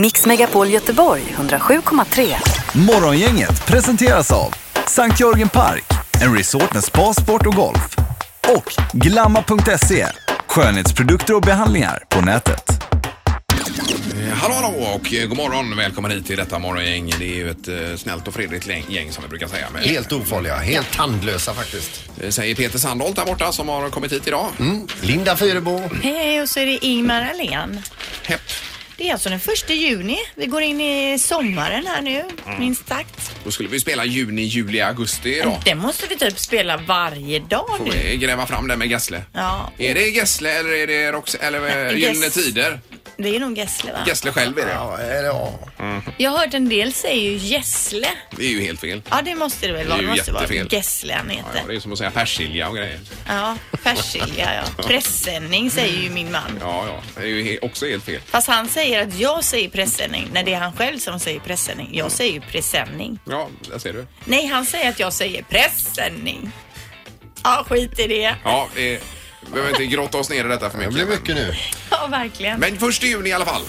Mix Megapol Göteborg 107,3. Morgongänget presenteras av Sankt Jörgen Park, en resort med spa, sport och golf. Och Glamma.se, skönhetsprodukter och behandlingar på nätet. Eh, Hallå, hallå och eh, god morgon. Välkommen hit till detta morgongäng. Det är ju ett eh, snällt och fredligt läng- gäng som vi brukar säga. Men, Helt ofarliga, helt tandlösa faktiskt. eh, Säger Peter Sandholt där borta som har kommit hit idag. Mm. Linda Fyrebo. Hej, och så är det Ingmar Ahlén. Hepp. Det är alltså den första juni. Vi går in i sommaren här nu, Mm. minst sagt. Då skulle vi spela juni, juli, augusti idag. Det måste vi typ spela varje dag Får nu. vi gräva fram det med Gessle. Ja. Är det Gessle eller är det Rox eller eh, Yes. Gyllene Tider? Det är nog Gessle va? Gessle själv är det. Ja, eller ja. Jag har hört en del säger ju Gessle. Det är ju helt fel. Ja, det måste det väl Det är vara. ju Det måste vara jättefel. Gessle han Ja, ja, det heter. är som att säga persilja och grejer. Ja, persilja ja. Pressändning säger ju min man. Ja, ja. Det är ju he- också helt fel. Fast han säger att jag säger pressändning när det är han själv som säger pressändning. Mm. Jag säger ju presenning. Ja, där ser du. Nej, han säger att jag säger pressändning. Ja, skit i det. Ja, eh, vi behöver inte grotta oss ner i detta för Det mycket. blir mycket nu. Ja, verkligen. Men först i juni i alla fall.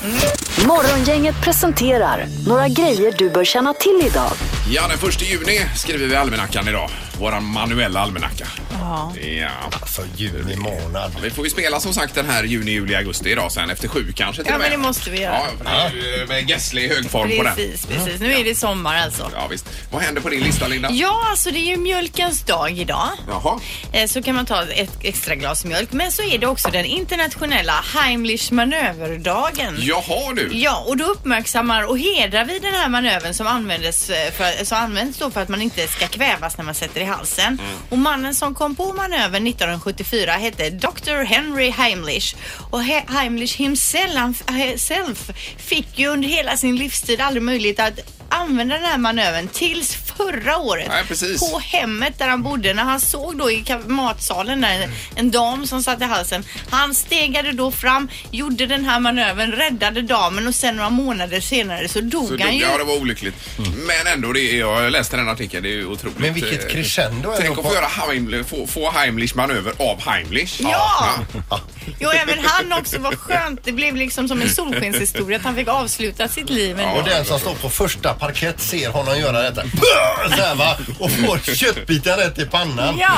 Morgongänget presenterar några grejer du bör känna till idag. Ja, den första juni skriver vi i almanackan idag. Våran manuella almanacka. Ja. Ja. För juni Alltså, månad. Vi får ju spela som sagt den här juni, juli, augusti idag sen efter sju kanske till Ja, och med. men det måste vi göra. Ja, för det är ju eh, med Gessle i hög form på den. Mm. Precis, precis. Nu är det sommar alltså. Ja, visst. Vad händer på din lista Linda? Ja, alltså det är ju mjölkens dag idag. Jaha. Eh, Så kan man ta ett extra glas mjölk. Men så är det också den internationella Heimlich manöverdagen. Jaha du. Ja, och då uppmärksammar och hedrar vi den här manövern som användes, eh, för, som används då för att man inte ska kvävas när man sätter i halsen. Mm. Och mannen som kom på manövern 1974 hette Dr. Henry Heimlich. Och He- Heimlich himself, han f- himself fick ju under hela sin livstid aldrig möjlighet att använda den här manövern tills förra året Nej, precis. på hemmet där han bodde när han såg då i ka- matsalen där en, en dam som satt i halsen. Han stegade då fram, gjorde den här manövern, räddade damen och sen några månader senare så dog Så han dog ju. jag, det var olyckligt. Men ändå, det är, jag läste den artikeln, det är ju otroligt. Mm. Men vilket eh, crescendo ändå Tänk att på- få, göra Heiml, få, få Heimlich manöver av Heimlich. Ja! Jo, även han också. Vad skönt. Det blev liksom som en solskenshistoria att han fick avsluta sitt liv. ändå. Och den som står på första parkett ser honom göra detta. Så här, va? Och får köttbitar rätt i pannan. Ja,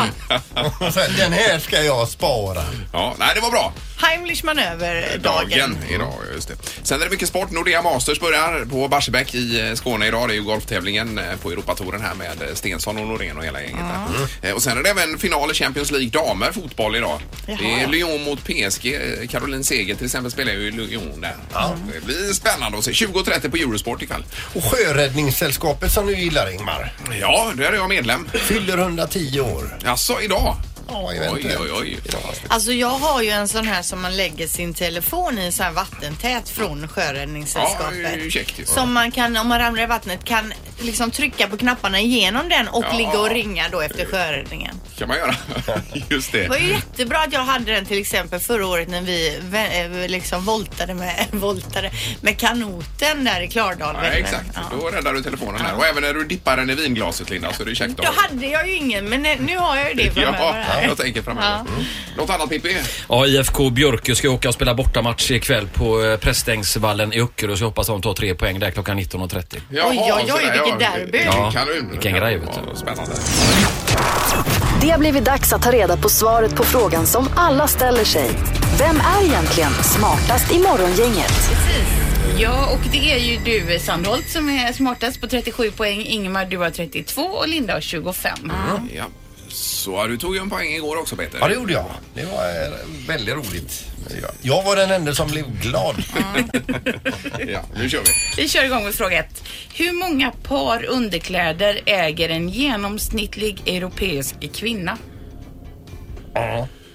Och så här, den här ska jag spara. ja. Nej, det var bra. Heimlich manöverdagen. dagen idag. Just det. Sen är det mycket sport. Nordea Masters börjar på Barsebäck i eh, Skåne idag. Det är ju golftävlingen eh, på Europatouren här med eh, Stensson och Norén och hela gänget. där. Eh, Och sen är det även final i Champions League damer fotboll idag. Det är Jaha. Lyon mot PSG. Eh, Caroline Seger till exempel spelar ju i Lyon där. Det blir spännande att se. 20.30 på Eurosport ikväll. Och Sjöräddningssällskapet som du gillar Ingmar. Ja, där är jag medlem. Fyller 110 år. Alltså idag? Ja, Oj, eventuellt. oj, oj. Alltså jag har ju en sån här som man lägger sin telefon i, så här vattentät från Ja, det är ju Sjöräddningssällskapet. käckt ju. som man kan, om man ramlar i vattnet, kan liksom trycka på knapparna igenom den och Ja. ligga och ringa då efter sjöräddningen. kan man göra. Just Det var det. ju jättebra att jag hade den till exempel förra året när vi vä- eh, liksom voltade med, voltade med kanoten där i Klardalen. Nej, exakt. Ja. Då räddar du telefonen här. Och även när du dippar den i vinglaset, Linda, så är det käckt Då att ha. hade jag ju ingen, men eh, nu har jag ju det framöver. Ja, här. jag tänker framöver. Ja. Mm. Något annat Pippi? Ja, IFK Björkö ska åka och spela bortamatch ikväll på eh, Prästängsvallen i Öckerö. Så jag hoppas de tar tre poäng där klockan 19.30. Jaha, Oj, oj, oj, sådär, vilket ja. derby. Ja, Ja, kanon. vilken grej, vet du. Ja, Spännande. Det har blivit dags att ta reda på svaret på frågan som alla ställer sig. Vem är egentligen smartast i morgongänget? Ja, och det är ju du Sandholt som är smartast på 37 poäng. Ingmar, du har 32 och Linda har 25. Ja. Så ja, du tog ju en poäng igår också Peter. Ja, det gjorde jag. Det var eh, väldigt roligt. Jag- Jag var den enda som blev glad. Ja, nu kör vi. Vi kör igång med fråga ett. Hur många par underkläder äger en genomsnittlig europeisk kvinna?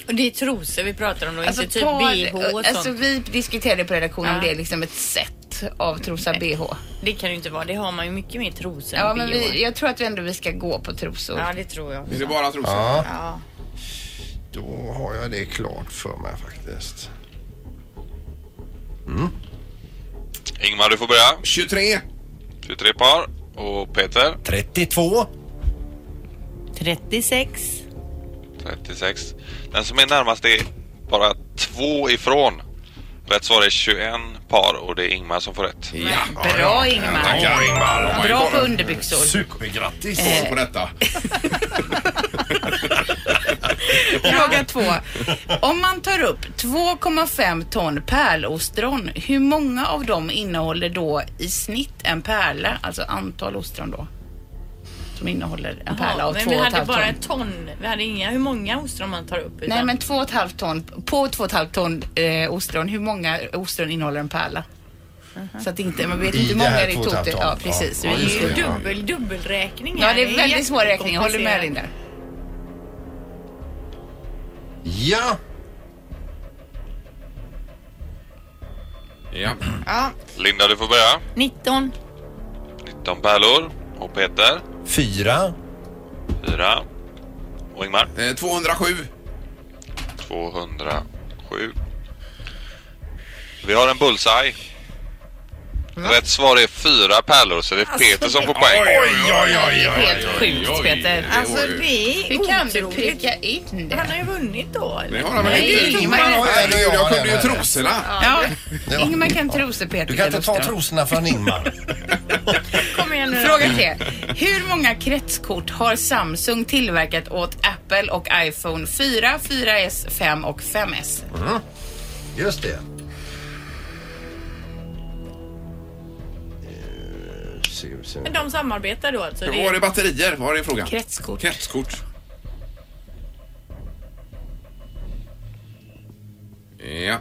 Och det är trosor vi pratar om då, inte typ bh och alltså, sånt. vi diskuterade på redaktionen om Ja. det är liksom ett sätt av trosa bh. Det kan det ju inte vara, det har man ju mycket mer trosor Ja, än men bh. vi, jag tror att vi ändå vi ska gå på trosor. Ja, det tror jag. Är det bara trosor? Ja. Ja. Då har jag det klart för mig faktiskt. Ingmar, du får börja. 23. 23 par. Och Peter, 32. 36. 36. Den som är närmast är bara två ifrån. Rätt svar är 21 par och det är Ingmar som får rätt. Ja, Bra, ja. Ingmar. Tackar Ingmar. De har ju Bra på koll- underbyxor. Supergrattis! koll Eh. på detta. Fråga två. Om man tar upp 2,5 ton pärlostron, hur många av dem innehåller då i snitt en pärla? Alltså antal ostron då. Som innehåller en pärla av men vi 2,5 hade ton. bara ett typ ton. Vi hade inga, hur många ostron man tar upp. Nej utan- men 2,5 ton, på 2,5 ton eh, ostron, hur många ostron innehåller en pärla? Så att inte, man vet I inte hur det många här det är 2,5 totalt. ton. Ja precis. Ja, Ja, Det just är ju det. dubbel, dubbelräkning här. ja det är väldigt svår räkning, jag håller med jättekomplicerat. Linda. Ja! Ja. Linda, du får börja. 19. 19 pärlor och Peter Fyra. 4 och Ingmar Eh, 207. 207. Vi har en bullseye. Rätt svar är fyra pärlor så det är Peter som får poäng. oj, oj, Helt sjukt, Peter. Alltså det är Hur kan du otroligt. pricka in det? Han har ju vunnit då. Det har han väl Nej, inte? Ingmar. Nej, nu, jag kunde ju Ja, den här. trosorna. Ja, Ja. Ingmar kan trosa Peter Du kan inte ta Lundström. trosorna från Ingmar. Kom igen nu då. Fråga tre. Hur många kretskort har Samsung tillverkat åt Apple och iPhone 4, 4S, 5 och 5S? Mm. Just det. Men de samarbetar då alltså. Var det batterier? Var det frågan? Kretskort. Kretskort. Ja.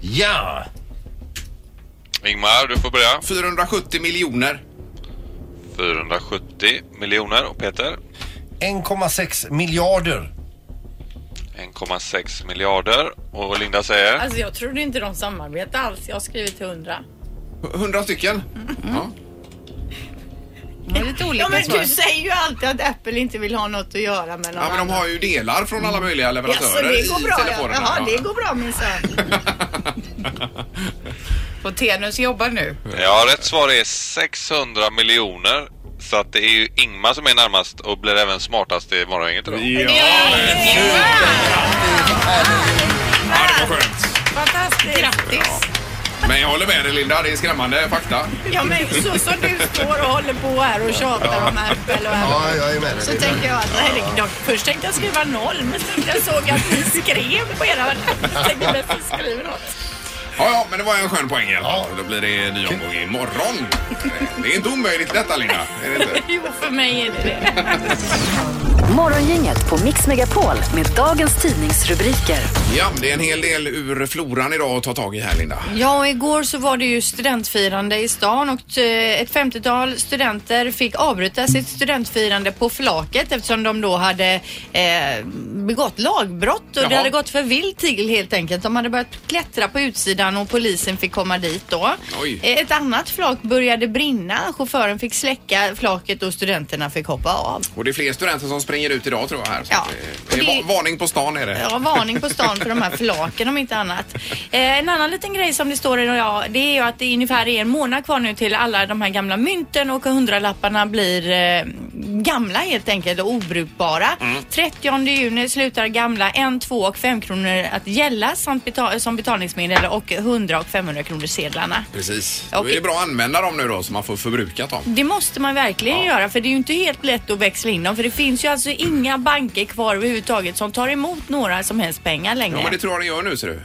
Ja! Ingmar, du får börja. 470 miljoner. 470 miljoner och Peter 1,6 miljarder. 1,6 miljarder och Linda säger Alltså jag trodde inte de samarbetar alls. Jag har skrivit till 100. 100 stycken. Ja. Det är lite Ja, olika men svar. du säger ju alltid att Apple inte vill ha något att göra med någon ja, men de har ju delar från alla möjliga Mm. Jaså, leverantörer det går bra i ja. telefonerna. Jaha, det går bra minsann. Och Tenus jobbar nu. Ja, rätt svar är 600 miljoner. Så att det är ju Ingmar som är närmast och blir även smartast i morgongänget idag. Ja, det var skönt. Fantastiskt. Grattis! Men jag håller med dig Linda, det är skrämmande fakta. Ja, men så som du står och håller på här och tjatar om Apple och Apple. Ja, jag är med dig. Så tänker jag att herregud, först tänkte jag skriva noll men sen jag såg att ni skrev på era Jag tänkte att vi skriver något. Ja, ja, men det var en skön poäng i alla fall. Då blir det en ny omgång imorgon. Det är inte omöjligt detta Linda. Är det inte? Jo, för mig är det det. Morgongänget på Mix Megapol med dagens tidningsrubriker. Ja, det är en hel del ur floran idag att ta tag i här Linda. Ja, och igår så var det ju studentfirande i stan och eh, ett 50-tal studenter fick avbryta sitt studentfirande på flaket eftersom de då hade eh, begått lagbrott och Jaha. det hade gått för vilt till helt enkelt. De hade börjat klättra på utsidan och polisen fick komma dit då. Oj. Eh, Ett annat flak började brinna. Chauffören fick släcka flaket och studenterna fick hoppa av. Och det är fler studenter som springer ut idag tror jag här. Så Ja. att, eh, det Och är det- va- varning på stan är det. Ja, varning på stan för de här flaken om inte annat. Eh, en annan liten grej som det står i ja, det är ju att det är ungefär en månad kvar nu till alla de här gamla mynten och hundralapparna blir eh, gamla helt enkelt och obrukbara. Mm. 30 juni slutar gamla 1, 2 och 5 kronor att gälla samt beta- som betalningsmedel och 100 och 500 kronor sedlarna. Precis. Då Okej. är det bra att använda dem nu då så man får förbrukat dem. Det måste man verkligen göra för det är ju inte helt lätt att växla in dem för det finns ju alltså inga banker kvar överhuvudtaget som tar emot några som helst pengar längre. Ja, men det tror jag det gör nu ser du.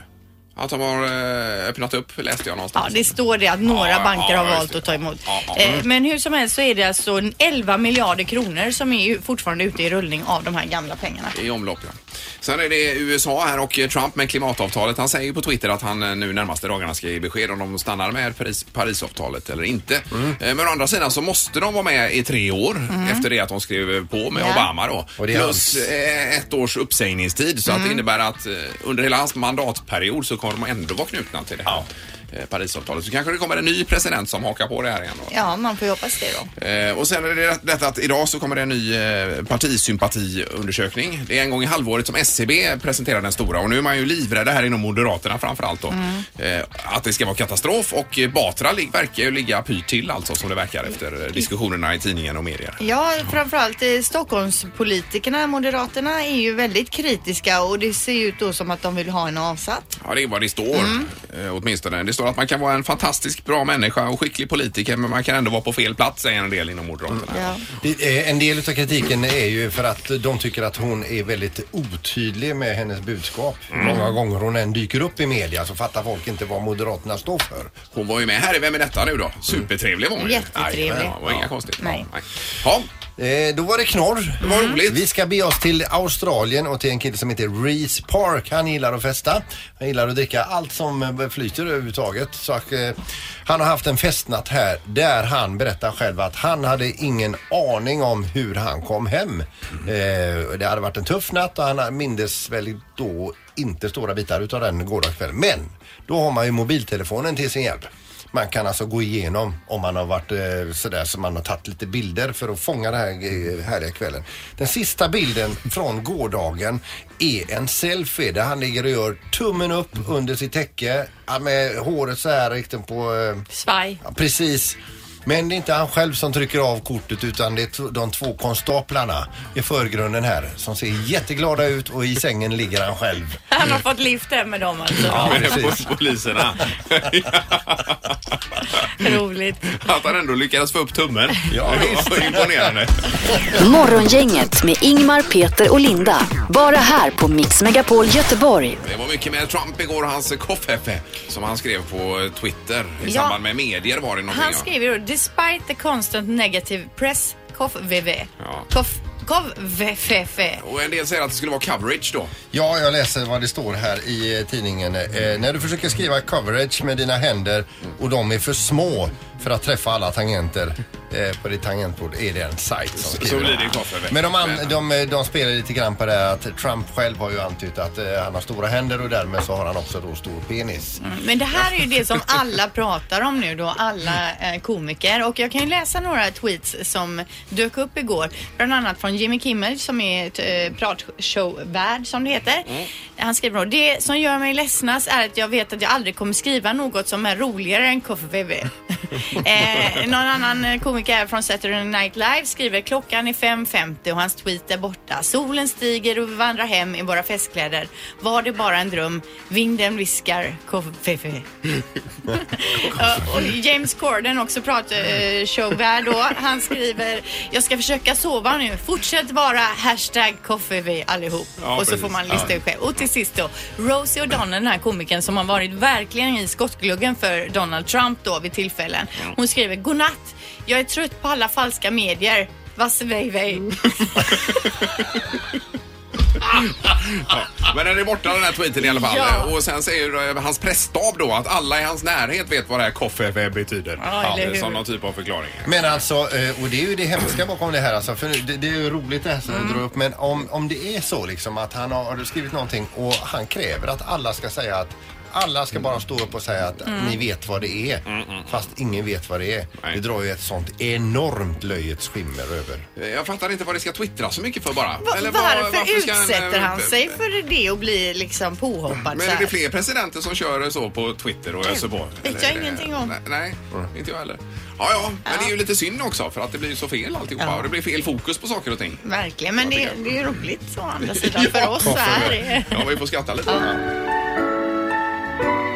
Att de har eh, öppnat upp läste jag Ja, någonstans. det står det att några Ja, banker ja, har just valt det. att ta emot. Ja, ja. Eh, Men hur som helst så är det alltså 11 miljarder kronor som är ju fortfarande ute i rullning av de här gamla pengarna. I omlopp, ja. Sen är det USA här och Trump med klimatavtalet. Han säger ju på Twitter att han eh, nu närmaste dagarna ska ge besked om de stannar med Paris, Parisavtalet eller inte. Mm. Eh, Men å andra sidan så måste de vara med i tre år efter det att de skrev på med Ja. Obama då. Och det är Plus hans- Mm. eh, ett års uppsägningstid så att det innebär att eh, under hela hans mandatperiod så kommer de ändå vara knutna till det här. eh, Parisavtalet. Så kanske det kommer en ny president som hakar på det här igen. Då. Ja, man får ju hoppas det då. Eh, och sen är det detta att idag så kommer det en ny eh, partisympatiundersökning. Det är en gång i halvåret som SCB presenterar den stora och nu är man ju livrädd här inom Moderaterna framförallt då. Eh, att det ska vara katastrof och eh, Batra lig- verkar ju ligga pyrt till alltså som det verkar efter eh, diskussionerna i tidningen och medier. Ja, framförallt eh, Stockholmspolitikerna, Moderaterna, är ju väldigt kritiska och det ser ju ut då som att de vill ha en avsatt. Ja, det är vad det står eh, åtminstone. Det står att man kan vara en fantastiskt bra människa och skicklig politiker men man kan ändå vara på fel plats säger en del inom Moderaterna. Mm, Ja. Det är- En del av kritiken är ju för att de tycker att hon är väldigt otydlig med hennes budskap. Många gånger hon än dyker upp i media så fattar folk inte vad Moderaterna står för. Hon var ju med här i Vem är detta nu då? Supertrevlig var hon ju. Jättetrevlig. Jajamän, Ja, det var inga konstigt. Nej. Ja, Ja, Eh, då var det knorr. det var roligt. Vi ska bege oss till Australien och till en kille som heter Reese Park. Han gillar att festa. Han gillar att dricka allt som eh, flyter överhuvudtaget. Så, att, eh, han har haft en festnatt här där han berättar själv att han hade ingen aning om hur han kom hem. Eh, det hade varit en tuff natt och han mindes väl då inte stora bitar utav den gårdagskvällen. Men då har man ju mobiltelefonen till sin hjälp. Man kan alltså gå igenom om man har varit eh, sådär som man har tagit lite bilder för att fånga den här eh, härliga kvällen. Den sista bilden från gårdagen är en selfie där han ligger och gör tummen upp under sitt täcke ja, med håret så här riktigt på... eh, Svaj. Ja, precis. Men det är inte han själv som trycker av kortet utan det är t- de två konstaplarna i förgrunden här som ser jätteglada ut och i sängen ligger han själv. Han har fått lift hem med dem alltså. med det precis. på poliserna. Roligt. Att han ändå lyckades få upp tummen. Ja, det var imponerande. Morgongänget med Ingmar, Peter och Linda. Bara här på Mix Megapol Göteborg. Det var mycket med Trump igår och hans koffefe som han skrev på Twitter i Ja. samband med medier var det någonting. Han skrev ju då, despite the constant negative press, koff vv. Ja. Koff, koff vff. ja. Och en del säger att det skulle vara coverage då. Ja, jag läser vad det står här i eh, tidningen. Eh, när du försöker skriva coverage med dina händer och de är för små för att träffa alla tangenter eh, på ditt tangentbord är det en sajt som skriver Så blir det ju här. koffefe. Men de, an, de, eh, de spelar lite grann på det här att Trump själv har ju antytt att eh, han har stora händer och därmed så har han också då stor penis. Mm. Men det här är ju det som alla pratar om nu då, alla eh, komiker. Och jag kan ju läsa några tweets som dök upp igår. Bland annat från Jimmy Kimmel som är ett eh, pratshowvärd som det heter. Han skriver då, det som gör mig ledsnast är att jag vet att jag aldrig kommer skriva något som är roligare än KFVB. eh, någon annan eh, komiker här från Saturday Night Live skriver, klockan är 5.50 och hans tweet är borta. Solen stiger och vi vandrar hem i våra festkläder. Var det bara en dröm? Vinden viskar KFVB. Ja, Eh, och James Corden, också pratshowvärd då, han skriver Jag ska försöka sova nu. Fortsätt vara hashtag koffevi allihop. Ja, och så precis. får man lista ut själv. Och till sist då, Rosie O'Donnell, den här komikern som har varit verkligen i skottgluggen för Donald Trump då vid tillfällen. Hon skriver Godnatt, jag är trött på alla falska medier. Vassevejvej. Mm. Men den är borta den här tweeten i alla fall. Ja. Och sen säger eh, hans pressstab då att alla i hans närhet vet vad det här koffefe betyder. Ja, eller hur? Som någon typ av förklaring. Men alltså, eh, och det är ju det hemska bakom det här alltså, för det, det är ju roligt det här som du drar upp, men om, om det är så liksom att han har, har du skrivit någonting och han kräver att alla ska säga att alla ska bara stå upp och säga att ni vet vad det är, fast ingen vet vad det är. Nej. Det drar ju ett sånt enormt löjets skimmer över. Eh, Jag fattar inte vad det ska twittra så mycket för bara. Va- Eller vad- varför, ska en, eh, utsätter han sig för det och blir liksom påhoppad Men så är här? det fler presidenter som kör så på Twitter och öser på? vet Eller jag är det- ingenting om. Nej, nej inte jag heller. Ja, ja, men det är ju lite synd också för att det blir ju så fel alltihopa Ja. och det blir fel fokus på saker och ting. Verkligen, men det, tycker jag. det är roligt så å andra sidan för oss så här är det. Ja, vi får skratta lite. Ja.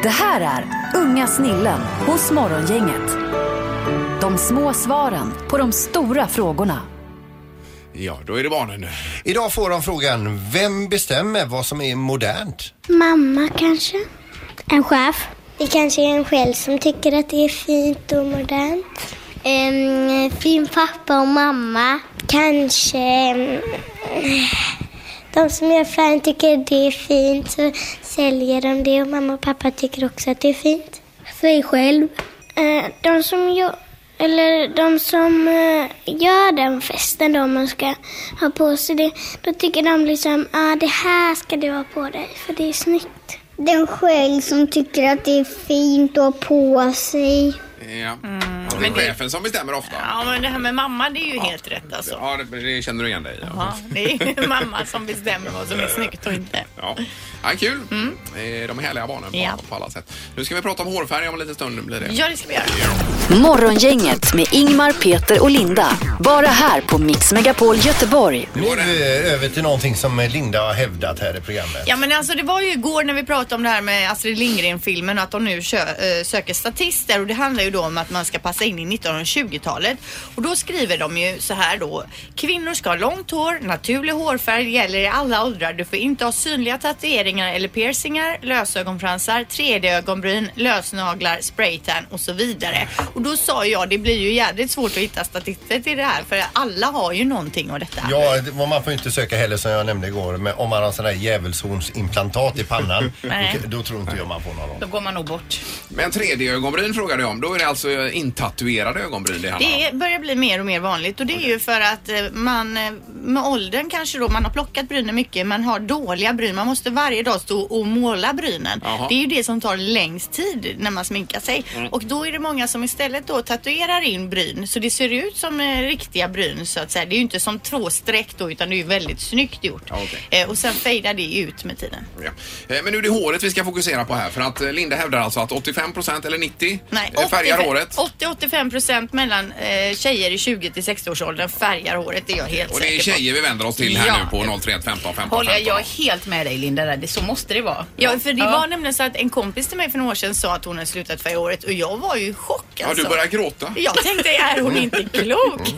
Det här är Unga snillen hos Morgongänget. De små svaren på de stora frågorna. ja, då är det barnen. Idag får de frågan, vem bestämmer vad som är modernt? Mamma kanske? En chef? Det kanske är en själv som tycker att det är fint och modernt. En fin pappa och mamma. Kanske mm, de som gör affären tycker det är fint så säljer de det och mamma och pappa tycker också att det är fint. Sig själv? De som gör eller de som eh, gör den festen då man ska ha på sig det. Då tycker de liksom, ja ah, det här ska du ha på dig för det är snyggt. Den själv som tycker att det är fint att ha på sig. Ja. Ja, det är chefen som bestämmer ofta. Mm. Ja, men det här med mamma, det är ju helt rätt alltså. Ja, det, det känner du igen dig i. Ja. Ja, det är ju mamma som bestämmer vad som är snyggt och inte. Ja. Ja, kul! Eh, De är härliga barnen på, Mm. Ja. på alla sätt. Nu ska vi prata om hårfärg om en liten stund. Blir det. Ja, det ska vi göra. Morgongänget med Ingmar, Peter och Linda. Bara här på Mix Megapol Göteborg. Nu eh, över till någonting som Linda har hävdat här i programmet. Ja men alltså det var ju igår när vi pratade om det här med Astrid Lindgren-filmen och att de nu kö- eh, söker statister och det handlar ju då om att man ska passa in i 1920-talet. Och då skriver de ju så här då. Kvinnor ska ha långt hår, naturlig hårfärg gäller i alla åldrar. Du får inte ha synliga tatueringar eller piercingar, lösögonfransar, 3D-ögonbryn, lösnaglar, spraytan och så vidare. Och då sa jag det blir ju jävligt svårt att hitta statister till det här för alla har ju någonting av detta. Ja, det- vad man får inte söka heller som jag nämnde igår. Men om man har sån där djävulshornsimplantat i pannan. Nej. då, då tror inte jag man får någon roll. Då går man nog bort. Men 3D-ögonbryn frågade jag om. Då är det alltså intatuerade ögonbryn det handlar om. Det är- börjar bli mer och mer vanligt och det är ju för att eh, man eh, med åldern kanske då, man har plockat brynen mycket, man har dåliga bryn. Man måste varje dag stå och måla brynen. Jaha. Mm. Det är ju det som tar längst tid när man sminkar sig. Och då är det många som istället då tatuerar in bryn så det ser ut som eh, riktiga bryn så att säga. Det är ju inte som tvåsträck då utan det är ju väldigt snyggt gjort. Ja, okej. Eh, Och sen fejdar det ut med tiden. Ja. Eh, Men nu är det håret vi ska fokusera på här för att eh, Linda hävdar alltså att 85 procent eller 90 Nej, eh, färgar 85 håret. 80-85 procent mellan eh, tjejer i 20 till 60-årsåldern färgar håret, det är jag helt Och det är säker på. tjejer vi vänder oss till här Ja. nu på 031 15 15 Håller jag, 15. jag är helt med dig Linda där. Det, så måste det vara. Ja, för det var nämligen så att en kompis till mig för några år sedan sa att hon hade slutat färga håret och jag var ju i chock Ja, alltså. du Mm. börjar gråta. Jag tänkte, är hon inte klok?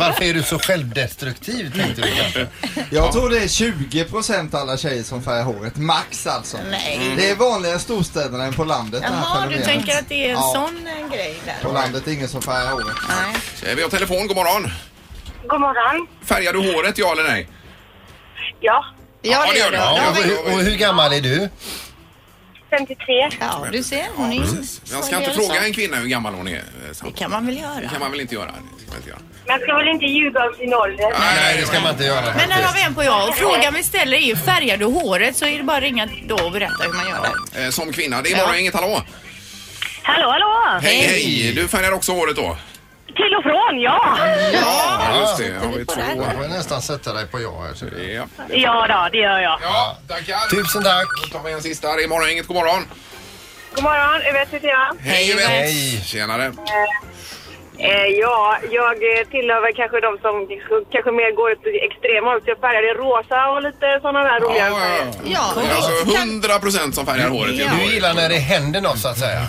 Varför är du så självdestruktiv tänkte du kanske? Jag tror det är 20% alla tjejer som färgar håret, max alltså. Nej. Mm. Det är vanligare i storstäderna än på landet det här Jaha, du fenomenet. tänker att det är en Ja. sån eh, grej där? På landet är ingen som färgar håret. Nej. Eh, Vi har telefon, god morgon. God morgon. Färgar du håret, ja eller nej? Ja, Ja, det gör du. Ja, Ja, och, hur- och hur gammal är du? 53. Ja, du ser, hon är ju... Jag ska hon inte gör så. fråga en kvinna hur gammal hon är. eh, Det sant. kan man väl Det göra. kan man väl inte göra? Det ska man inte göra. Man ska väl inte ljuga om sin ålder. Nej, det ska man inte göra. Men här har faktiskt. vi en på jag och frågan vi ställer är ju färgar du håret så är det bara att ringa då och berätta hur man gör det. Eh, Som kvinna, det är bara inget hallå. Hallå, hallå! Hej, hej! Du färgar också håret då? Till och från, ja! Ja, just det. Har vi två. Jag får nästan sätta dig på ja här. tror jag. Ja. Ja, då, det gör jag. Ja, tackar. Tusen tack! Då tar vi en sista här. Det är morgon, inget god morgon. God morgon, Yvette heter jag. Hej, Yvette. Hej. Tjenare. Eh, ja, jag eh, tillhör väl kanske de som k- kanske mer går åt det extrema hållet. Jag färgade rosa och lite sådana där roliga färger. Ja, Det är visst alltså kan- 100 procent som färgar håret i Ja. Göteborg. Du gillar när det händer något så att säga.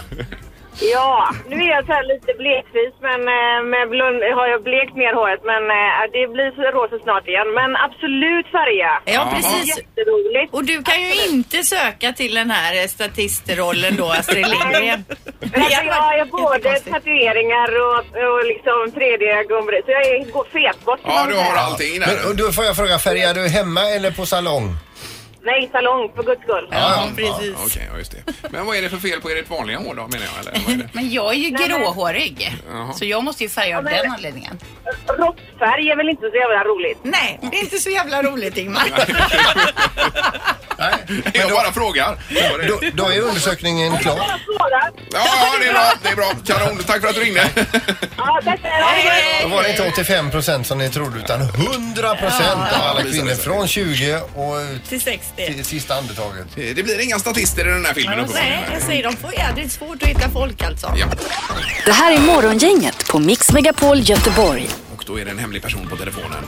Ja, nu är jag så här lite blekvis, men eh, med blund, har jag blekt ner håret. Men eh, det blir så rosa snart igen. Men absolut färga. Ja, precis. Jätteroligt. Och du kan ju inte söka till den här eh, statistrollen då, Astrid Lindgren. Det Alltså, hade jag har ju varit både jättekonstigt. tatueringar och, och liksom 3D-gummor. Så jag är går fetbort. kan Ja, man du säga. har allting Men, och där. då får jag fråga, färgar du hemma eller på salong? Nej, salong för guds skull. Ja, Ja, precis. Okej, ja, just det. Men vad är det för fel på ert vanliga hår då menar jag? Eller, vad är det? Men jag är ju men- gråhårig. Jaha. Så jag måste ju färga av men- den anledningen. Råttfärg är väl inte så jävla roligt? Nej, det är inte så jävla roligt Ingmar. Nej. Jag bara frågar. Ja, det är- Då, då är undersökningen klar. Bara fråga. Ja, det är bra. Det är bra. Kanon. Tack för att du ringde. Ja, tack ska ni ha. Då var det inte 85 procent som ni trodde utan 100 procent av alla Ja. kvinnor från 20 och ut Till 60. till sista andetaget. Det blir inga statister i den här filmen Nej, jag säger de får jädrigt svårt att hitta folk alltså. Ja, Det här är Morgongänget på Mix Megapol Göteborg. och då är det en hemlig person på telefonen.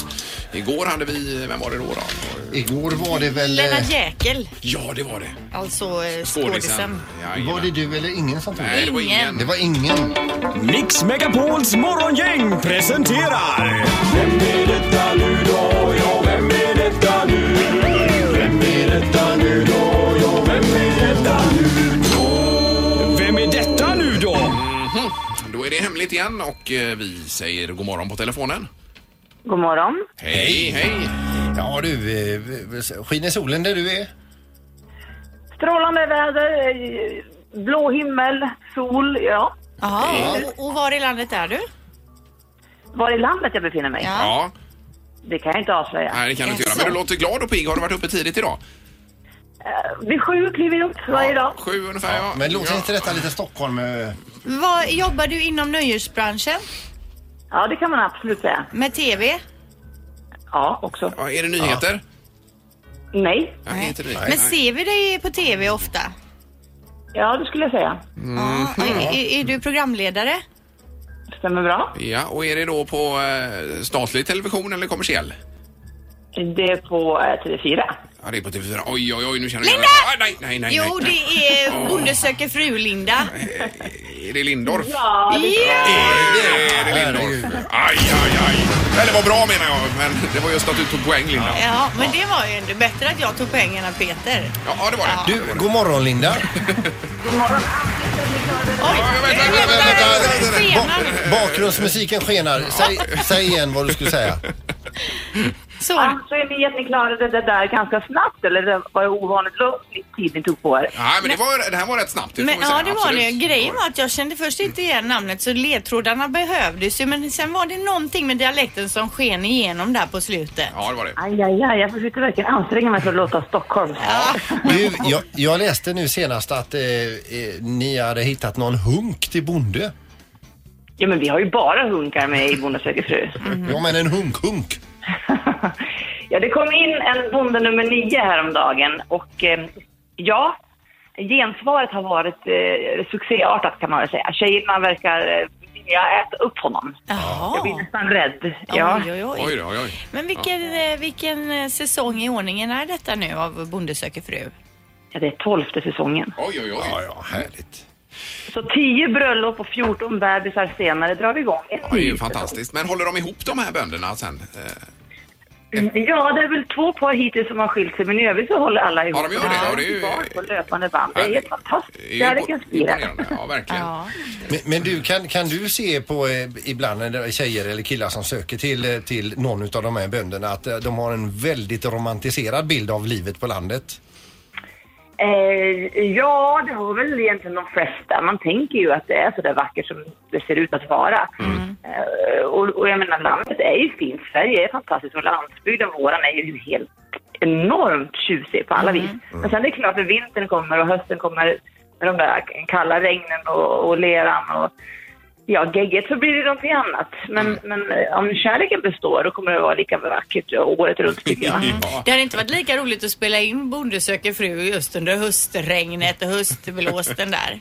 Igår hade vi, vem var det då? då? Igår var det väl... Lennart Jäkel, Ja, det var det. alltså eh, skådisen. Jajamän. Var det du eller ingen som tog Nej, det det? var ingen. Det var ingen. Mix Megapols morgongäng presenterar... Vem är detta nu då? Ja, vem är detta nu? Vem är detta nu då? Ja, vem är detta nu då? Vem är detta nu då? Då är det hemligt igen och eh, vi säger god morgon på telefonen. God morgon. Hej, hej. Ja du, eh, skiner solen där du är? Strålande väder, eh, blå himmel, sol. Ja. Jaha, och, och var i landet är du? Var i landet jag befinner mig? Ja. Ja, Det kan jag inte avslöja. nej det kan du inte göra. Jaså. Men du låter glad och pigg. Har du varit uppe tidigt idag? Eh, Vid sju kliver jag upp varje dag. Sju ungefär, ja. Men låter inte detta lite Stockholm? eh, Vad, jobbar du inom nöjesbranschen? Ja, det kan man absolut säga. Med TV? Ja, också. är det nyheter? Nej. Nej, inte det. Men ser vi dig på TV ofta? Ja, det skulle jag säga. Mhm. Är, är, är du programledare? Stämmer bra. Ja, och är det då på eh, statlig television eller kommersiell? Det är på eh, TV4. Ja, det är på TV4. Oj, oj, oj, nu känner jag... Linda! Ah, nej, nej, nej, Jo, nej. det är Undersöker fru-Linda. Är det Lindorff? Ja! Är det Lindorff? Aj, aj, aj. Eller vad bra menar jag, men det var just att du tog poäng, Linda. Ja, men det var ju ändå bättre att jag tog pengarna Peter. Ja, det var det. Du, god morgon Linda. Ba- Bakgrundsmusiken skenar. Säg, säg igen vad du skulle säga. Så. Alltså, är ni, att ni klarade det där ganska snabbt eller det var det ovanligt lång tid ni tog på er? Nej, men det, var, det här var rätt snabbt. Det får Men, vi säga. ja, det var det. Absolut. Grejen var att jag kände först inte igen namnet så ledtrådarna behövdes ju. Men sen var det någonting med dialekten som sken igenom där på slutet. Ja, det var det. Aj, aj, aj, jag försökte verkligen anstränga mig för att låta Stockholm. Du, jag, jag läste nu senast att eh, eh, ni hade hittat någon hunk till bonde. Ja, men vi har ju bara hunkar med i Bonde söker fru. Ja, men en hunk-hunk. Ja, det kom in en bonde nummer nio häromdagen och eh, ja, gensvaret har varit eh, succéartat kan man väl säga. Tjejerna verkar eh, vilja äta upp honom. Jag blir nästan rädd. Ja. Oj, oj, oj. Oj, då, oj, oj. Men vilken, eh, vilken eh, säsong i ordningen är detta nu av Bonde söker fru? Ja, det är tolfte säsongen. Oj, oj, oj. Ja, ja, härligt. Så tio bröllop och 14 bebisar senare drar vi igång. Ja, det är ju fantastiskt. Men håller de ihop de här bönderna sen? Eh, Mm, Ja, det är väl två par hittills som har skilt sig, men i övrigt så håller alla ihop. Ja, de gör det. Ja, det är ju- Barn på löpande band. Det är helt fantastiskt. är ju Kärleken spirar. imponerande. Ja, verkligen. Men, men du, kan, kan du se på eh, ibland när det är tjejer eller killar som söker till, eh, till någon av de här bönderna att eh, de har en väldigt romantiserad bild av livet på landet? Eh, ja, det har väl egentligen de flesta. Man tänker ju att det är så där vackert som det ser ut att vara. Eh, och, och jag menar, landet är ju fint. Sverige är fantastiskt och landsbygden våran är ju helt enormt tjusig på alla vis. Men sen är det klart när vintern kommer och hösten kommer med de där kalla regnen och, och leran och ja, gegget så blir det någonting annat. Men, men eh, om kärleken består då kommer det vara lika vackert året runt tycker jag. Det hade inte varit lika roligt att spela in Bonde söker fru just under höstregnet och höstblåsten där.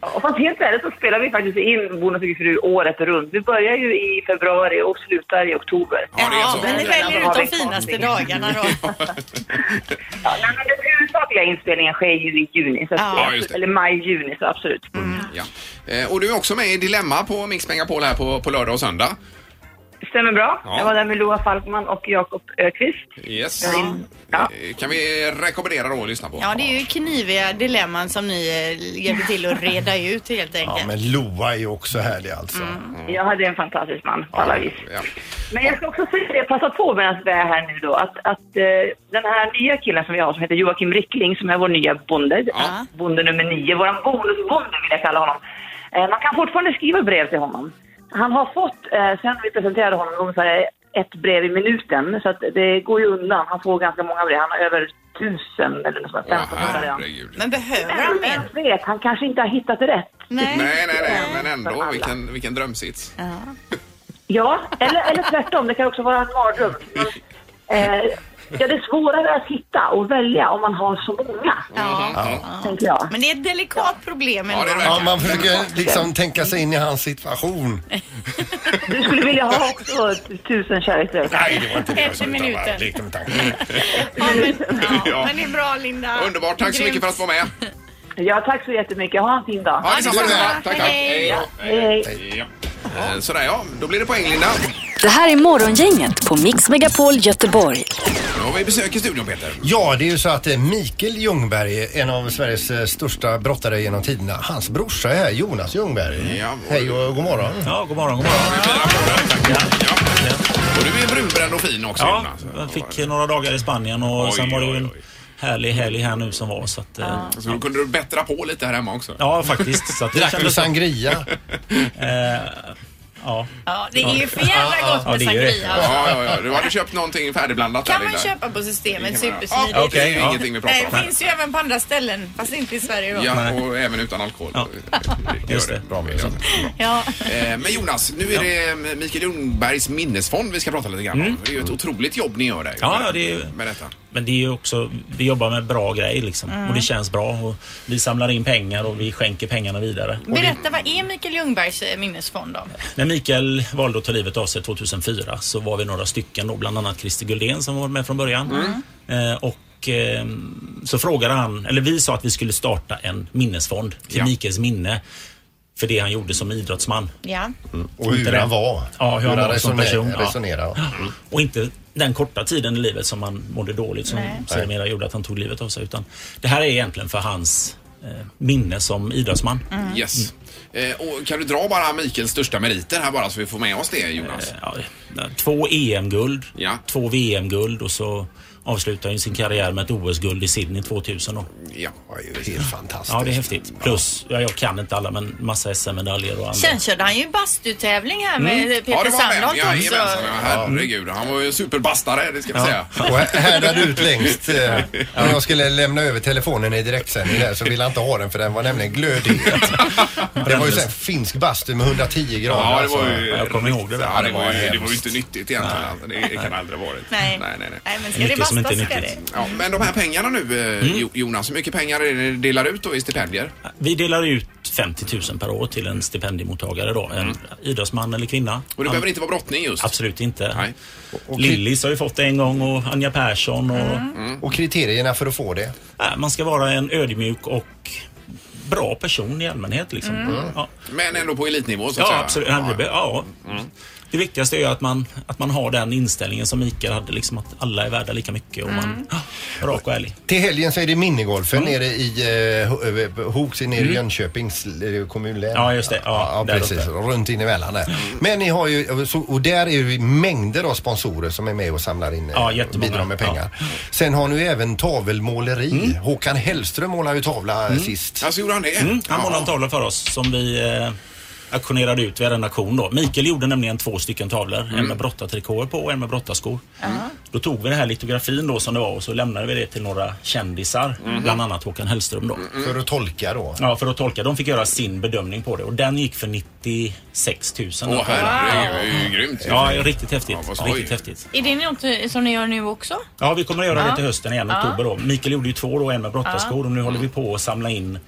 Ja, fast helt ärligt så spelar vi faktiskt in Bonus och fru året runt. Vi börjar ju i februari och slutar i oktober. Ja, det är så. men ni väljer Har ut vi kvar de finaste någonting? dagarna då. Ja, nej, men den huvudsakliga inspelningen sker ju i juni, så att, Ja, just det. eller maj-juni, så absolut. Ja. Eh, Och du är också med i Dilemma på Mix Megapol här på, på lördag och söndag. Stämmer bra. Ja. Jag var där med Loa Falkman och Jakob Ökvist. Yes. Ja. Eh, Kan vi rekommendera då att lyssna på? Ja, det är ju kniviga dilemman som ni eh, hjälper till att reda ut helt Ja, enkelt. men Loa är ju också härlig alltså. Jag hade en fantastisk man på alla vis. Mm. Ja. Men jag ska också säga det, passa på medan vi är här nu då, att, att eh, den här nya killen som vi har som heter Joakim Rickling, som är vår nya bonde, Ja. bonde nummer nio, våran bonusbonde vill jag kalla honom. Eh, man kan fortfarande skriva brev till honom. Han har fått, eh, sen vi presenterade honom, ungefär ett brev i minuten, så att det går ju undan. Han får ganska många brev, han har över tusen eller något sånt, Ja, 1500 redan. herregud. Men behöver han Men mer? vem vet, han kanske inte har hittat rätt. Nej. Nej, nej, nej, men För ändå. alla. Vilken, vilken drömsits. Ja. Ja, eller, eller tvärtom. Det kan också vara en mardröm. Men, Eh, ja, det är svårare att hitta och välja om man har så många, Ja. tänker jag. Men det är ett delikat problem Ja, det är ändå. det. Ja, man försöker liksom tänka sig in i hans situation. Du skulle vilja ha också tusen kärleksbrev. Nej, det var inte det jag sa, Efter utan bara minuten. lekte med tanken. Ja, men, Ja. ja, men det är bra Linda. Underbart. Tack så Grymt. mycket för att du var med. Ja, tack så jättemycket. Ha en fin dag. Ja, detsamma. detsamma. Tack, tack. Hej. Hej då. Hej, hej. Ja. Eh, Sådär ja, då blir det poäng Linda. Det här är Morgongänget på Mix Megapol Göteborg. Då har vi besök i studion Peter. Ja, det är ju så att eh, Mikael Ljungberg, en av Sveriges eh, största brottare genom tiderna, hans brorsa är här, Jonas Ljungberg. Ja, och- Hej och god morgon. Ja, god morgon, god morgon. Och du är brunbränd och fin också Ja, Jonas. jag fick några dagar i Spanien och Oj, sen var det ju oj, en oj. härlig helg här nu som var. Så att, eh, Så då kunde du bättra på lite här hemma också. ja, faktiskt. Så att det Drack du kändes... sangria? Eh, Ja. Ja, det är ju för jävla Ja, gott med det är ju- sangria. alltså. Ja, ja, ja. Du hade köpt någonting färdigblandat Kan där, man Linda. köpa på systemet supersmidigt. Ja, okej, det är ja. ingenting vi pratar Nej, om. Det finns ju även på andra ställen, fast inte i Sverige då. Ja, och även utan alkohol. Ja. Just det. Bra, William. Ja. Eh, Men Jonas, nu är det eh, Mikael Ljungbergs minnesfond vi ska prata lite grann om. Det är ju ett otroligt jobb ni gör där. Ja, ja, det är- Med detta. Men det är ju också, vi jobbar med bra grejer liksom. Mm. Och det känns bra. Och vi samlar in pengar och vi skänker pengarna vidare. Och det, Berätta, vad är Mikael Ljungbergs eh, minnesfond då? när Mikael valde att ta livet av sig 2004 så var vi några stycken då, bland annat Christer Guldén som var med från början. Mm. Eh, och eh, så frågade han, eller vi sa att vi skulle starta en minnesfond till Ja. Mikaels minne. För det han gjorde som idrottsman. Ja. Och hur Inte han den- var. Ja, hur han var som resoner- person. Ja. resonerade. Mm. Och inte den korta tiden i livet som han mådde dåligt som Nej. sedermera gjorde att han tog livet av sig. Utan det här är egentligen för hans eh, minne som idrottsman. Mm. Yes. Eh, Och kan du dra bara Mikaels största meriter här bara så vi får med oss det Jonas? Två EM-guld, två VM-guld och så avslutar han ju sin karriär med ett OS-guld i Sydney 2000. Då. Ja, det är helt fantastiskt. Ja, det är häftigt. Plus, ja, jag kan inte alla, men massa SM-medaljer och andra. Sen körde han ju bastutävling här med Mm. Peter Sandholt ja, också. jajamensan, ja, herregud. Han var ju superbastare, det ska vi Ja. säga. Och här- härdade ut längst. eh, När jag skulle lämna över telefonen i direktsändning där så ville han inte ha den för den var nämligen glödhet. Det var ju sen finsk bastu med 110 grader. Ja, det alltså. var ju... Ja, det var ju, det var ju hemskt. inte nyttigt egentligen. Det, det kan aldrig ha varit. Nej. Nej, nej, nej. men ska Mycket det som bastas inte är ska nyttigt. Ja, men de här pengarna nu, eh, Mm. Jo- Jonas, hur mycket pengar är det ni delar ut då i stipendier? Vi delar ut 50 000 per år till en stipendiemottagare då. En idrottsman eller kvinna. Mm. Och det behöver inte vara brottning just? Absolut inte. Nej. Och Lillis har ju fått det en gång och Anja Persson och... Mm. Äh, Och kriterierna för att få det? Man ska vara en ödmjuk och bra person i allmänhet liksom. Mm. Ja, Men ändå på elitnivå så Mm. ja att säga. absolut. Ja. det- Ja. Det viktigaste är ju att man, att man har den inställningen som Mikael hade, liksom att alla är värda lika mycket och man... Ja, rak och ärlig. Till helgen så är det minigolfen Mm. nere i eh, Ho- eh, Hooks nere i Jönköpings eh, kommunlän. Ja, just det. Ja, Ja, där precis. uppe. Mm. Runt in emellan där. Men ni har ju, och så- och där är ju mängder av sponsorer som är med och samlar in eh, Ja, Mm. jättemånga. bidrar med pengar. Sen har ni ju även tavelmåleri. Håkan Hellström målade ju tavla eh, sist. Alltså gjorde han det? Mm, han målade en tavla för oss som vi eh, auktionerade ut vid en auktion då. Mikael gjorde nämligen två stycken tavlor. En med brottartrikåer på och en med brottarskor. Då tog vi den här litografin då som det var och så lämnade vi det till några kändisar. Mhm. Bland annat Håkan Hellström då. För att tolka då. Ja, för att tolka. De fick göra sin bedömning på det och den gick för 96 000. Åh, herregud, det är ju Ja. grymt. Ja, riktigt häftigt. vad skoj. riktigt häftigt. Är det något som ni gör nu också? Ja, vi kommer att göra Ja. det till hösten igen, Ja. oktober då. Mikael gjorde ju två då, en med brottarskor Ja. och nu håller vi på att samla in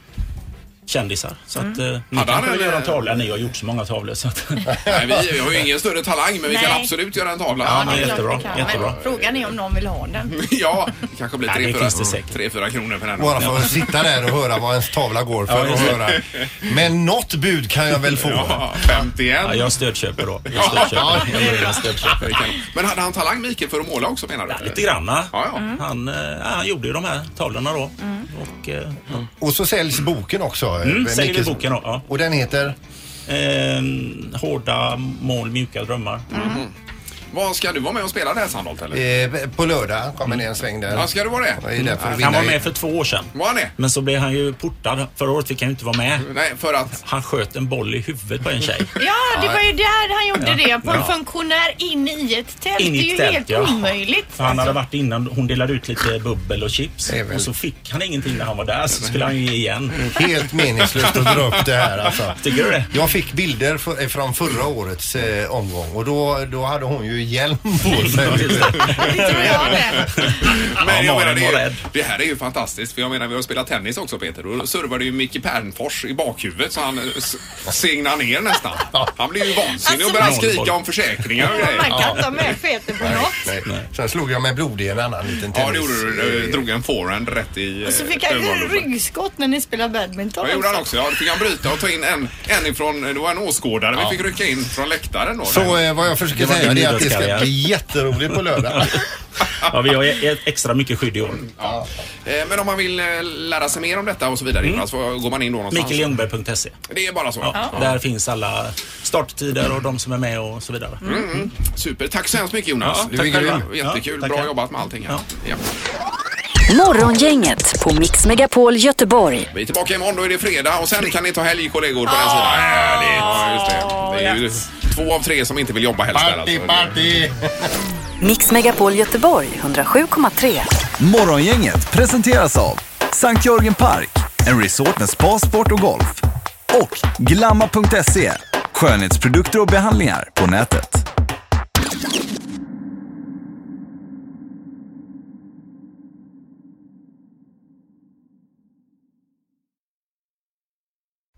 kändisar. Så att eh, ni Hade han kanske vill en, göra en eh, tavla. Ni har gjort så många tavlor så att... Nej, vi, vi har ju ingen större talang, men vi kan Nej. absolut göra en tavla. Ja, men Klart jättebra, vi kan, jättebra. Men frågan är om någon vill ha den. Ja, det kanske blir Nej, tre, det fyra, finns det säkert. tre, fyra kronor för den. Bara för att sitta där och höra vad ens tavla går för. Ja, och just det. höra. Men något bud kan jag väl få. Ja, 51. Ja, jag stödköper då. Jag stödköper. Ja. Jag börjar med stödköper. Men hade han talang Mikael för att måla också menar du? Ja, Lite granna. Ja, ja. Han, eh, ja, han gjorde ju de här tavlorna då. Mm. Och, eh, Och så säljs boken också. mm, eh, säljer vi Micke- boken då. Ja. Och den heter? ehm, hårda mål, mjuka drömmar. Mm. Vad ska du vara med och spela det här Sandholt eller? Eh, på lördag kommer det en sväng där. Ja, ska du vara det? Vad är det för att vinna Han var i- med för två år sedan. Var han det? Men så blev han ju portad. Förra året fick han ju inte vara med. Nej, för att? Han sköt en boll i huvudet på en tjej. Ja, det var ju där han gjorde Ja. det. På en Ja. funktionär in i ett tält. In i det är ju ett tält, helt ja. omöjligt. För han hade varit innan, hon delade ut lite bubbel och chips Det är väl- och så fick han ingenting när han var där så skulle han ju ge igen. Helt meningslöst att dra upp det här alltså. Tycker du det? Jag fick bilder för, eh, från förra årets eh, omgång och då, då hade hon ju hjälm på sig. Men jag menar, det, var är, det här är ju fantastiskt för jag menar vi har spelat tennis också Peter och då servade ju Micke Pernfors i bakhuvudet så han eh, s- segnar ner nästan. Han blev ju vansinnig Alltså, och började skrika om försäkringar Oh och grejer. Man kan inte ha med Peter på något. Nej. Sen slog jag mig blodig i en annan liten Ja, tennis. det gjorde du. Du Drog en forehand rätt i Och så eh, fick han ögonlocken. ju ryggskott när ni spelade badminton. Ja, gjorde han också. Ja, då fick han bryta och ta in en, en ifrån, det var en åskådare vi fick rycka in från läktaren då. Så eh, vad jag försöker Det var säga din det är att det ska idrottskarriär. bli jätteroligt på lördag. Ja, vi har ju e- extra mycket skydd i år. Ja. Eh, Men om man vill eh, lära sig mer om detta och så vidare Jonas, var går man in då någonstans? Mikaeljungberg.se. Det är bara så. Mm. Ja, Där finns alla starttider och de som är med och så vidare. Mm, mm. Super. Tack så hemskt mycket Jonas. Ja, Du tack är grym. själva. Jättekul. Ja, tackar. Bra jobbat med allting. här. Ja. Morgongänget på Mix Megapol Göteborg. Ah, Vi är tillbaka imorgon, då är det fredag och sen kan ni ta helg kollegor på den sidan. Härligt! Ja, just det. Det är ju ju två av tre som inte vill jobba helst där alltså. party! Mix Megapol Göteborg 107,3. Morgongänget presenteras av Sankt Jörgen Park, en resort med spa, sport och golf. Och Glamma.se, skönhetsprodukter och behandlingar på nätet.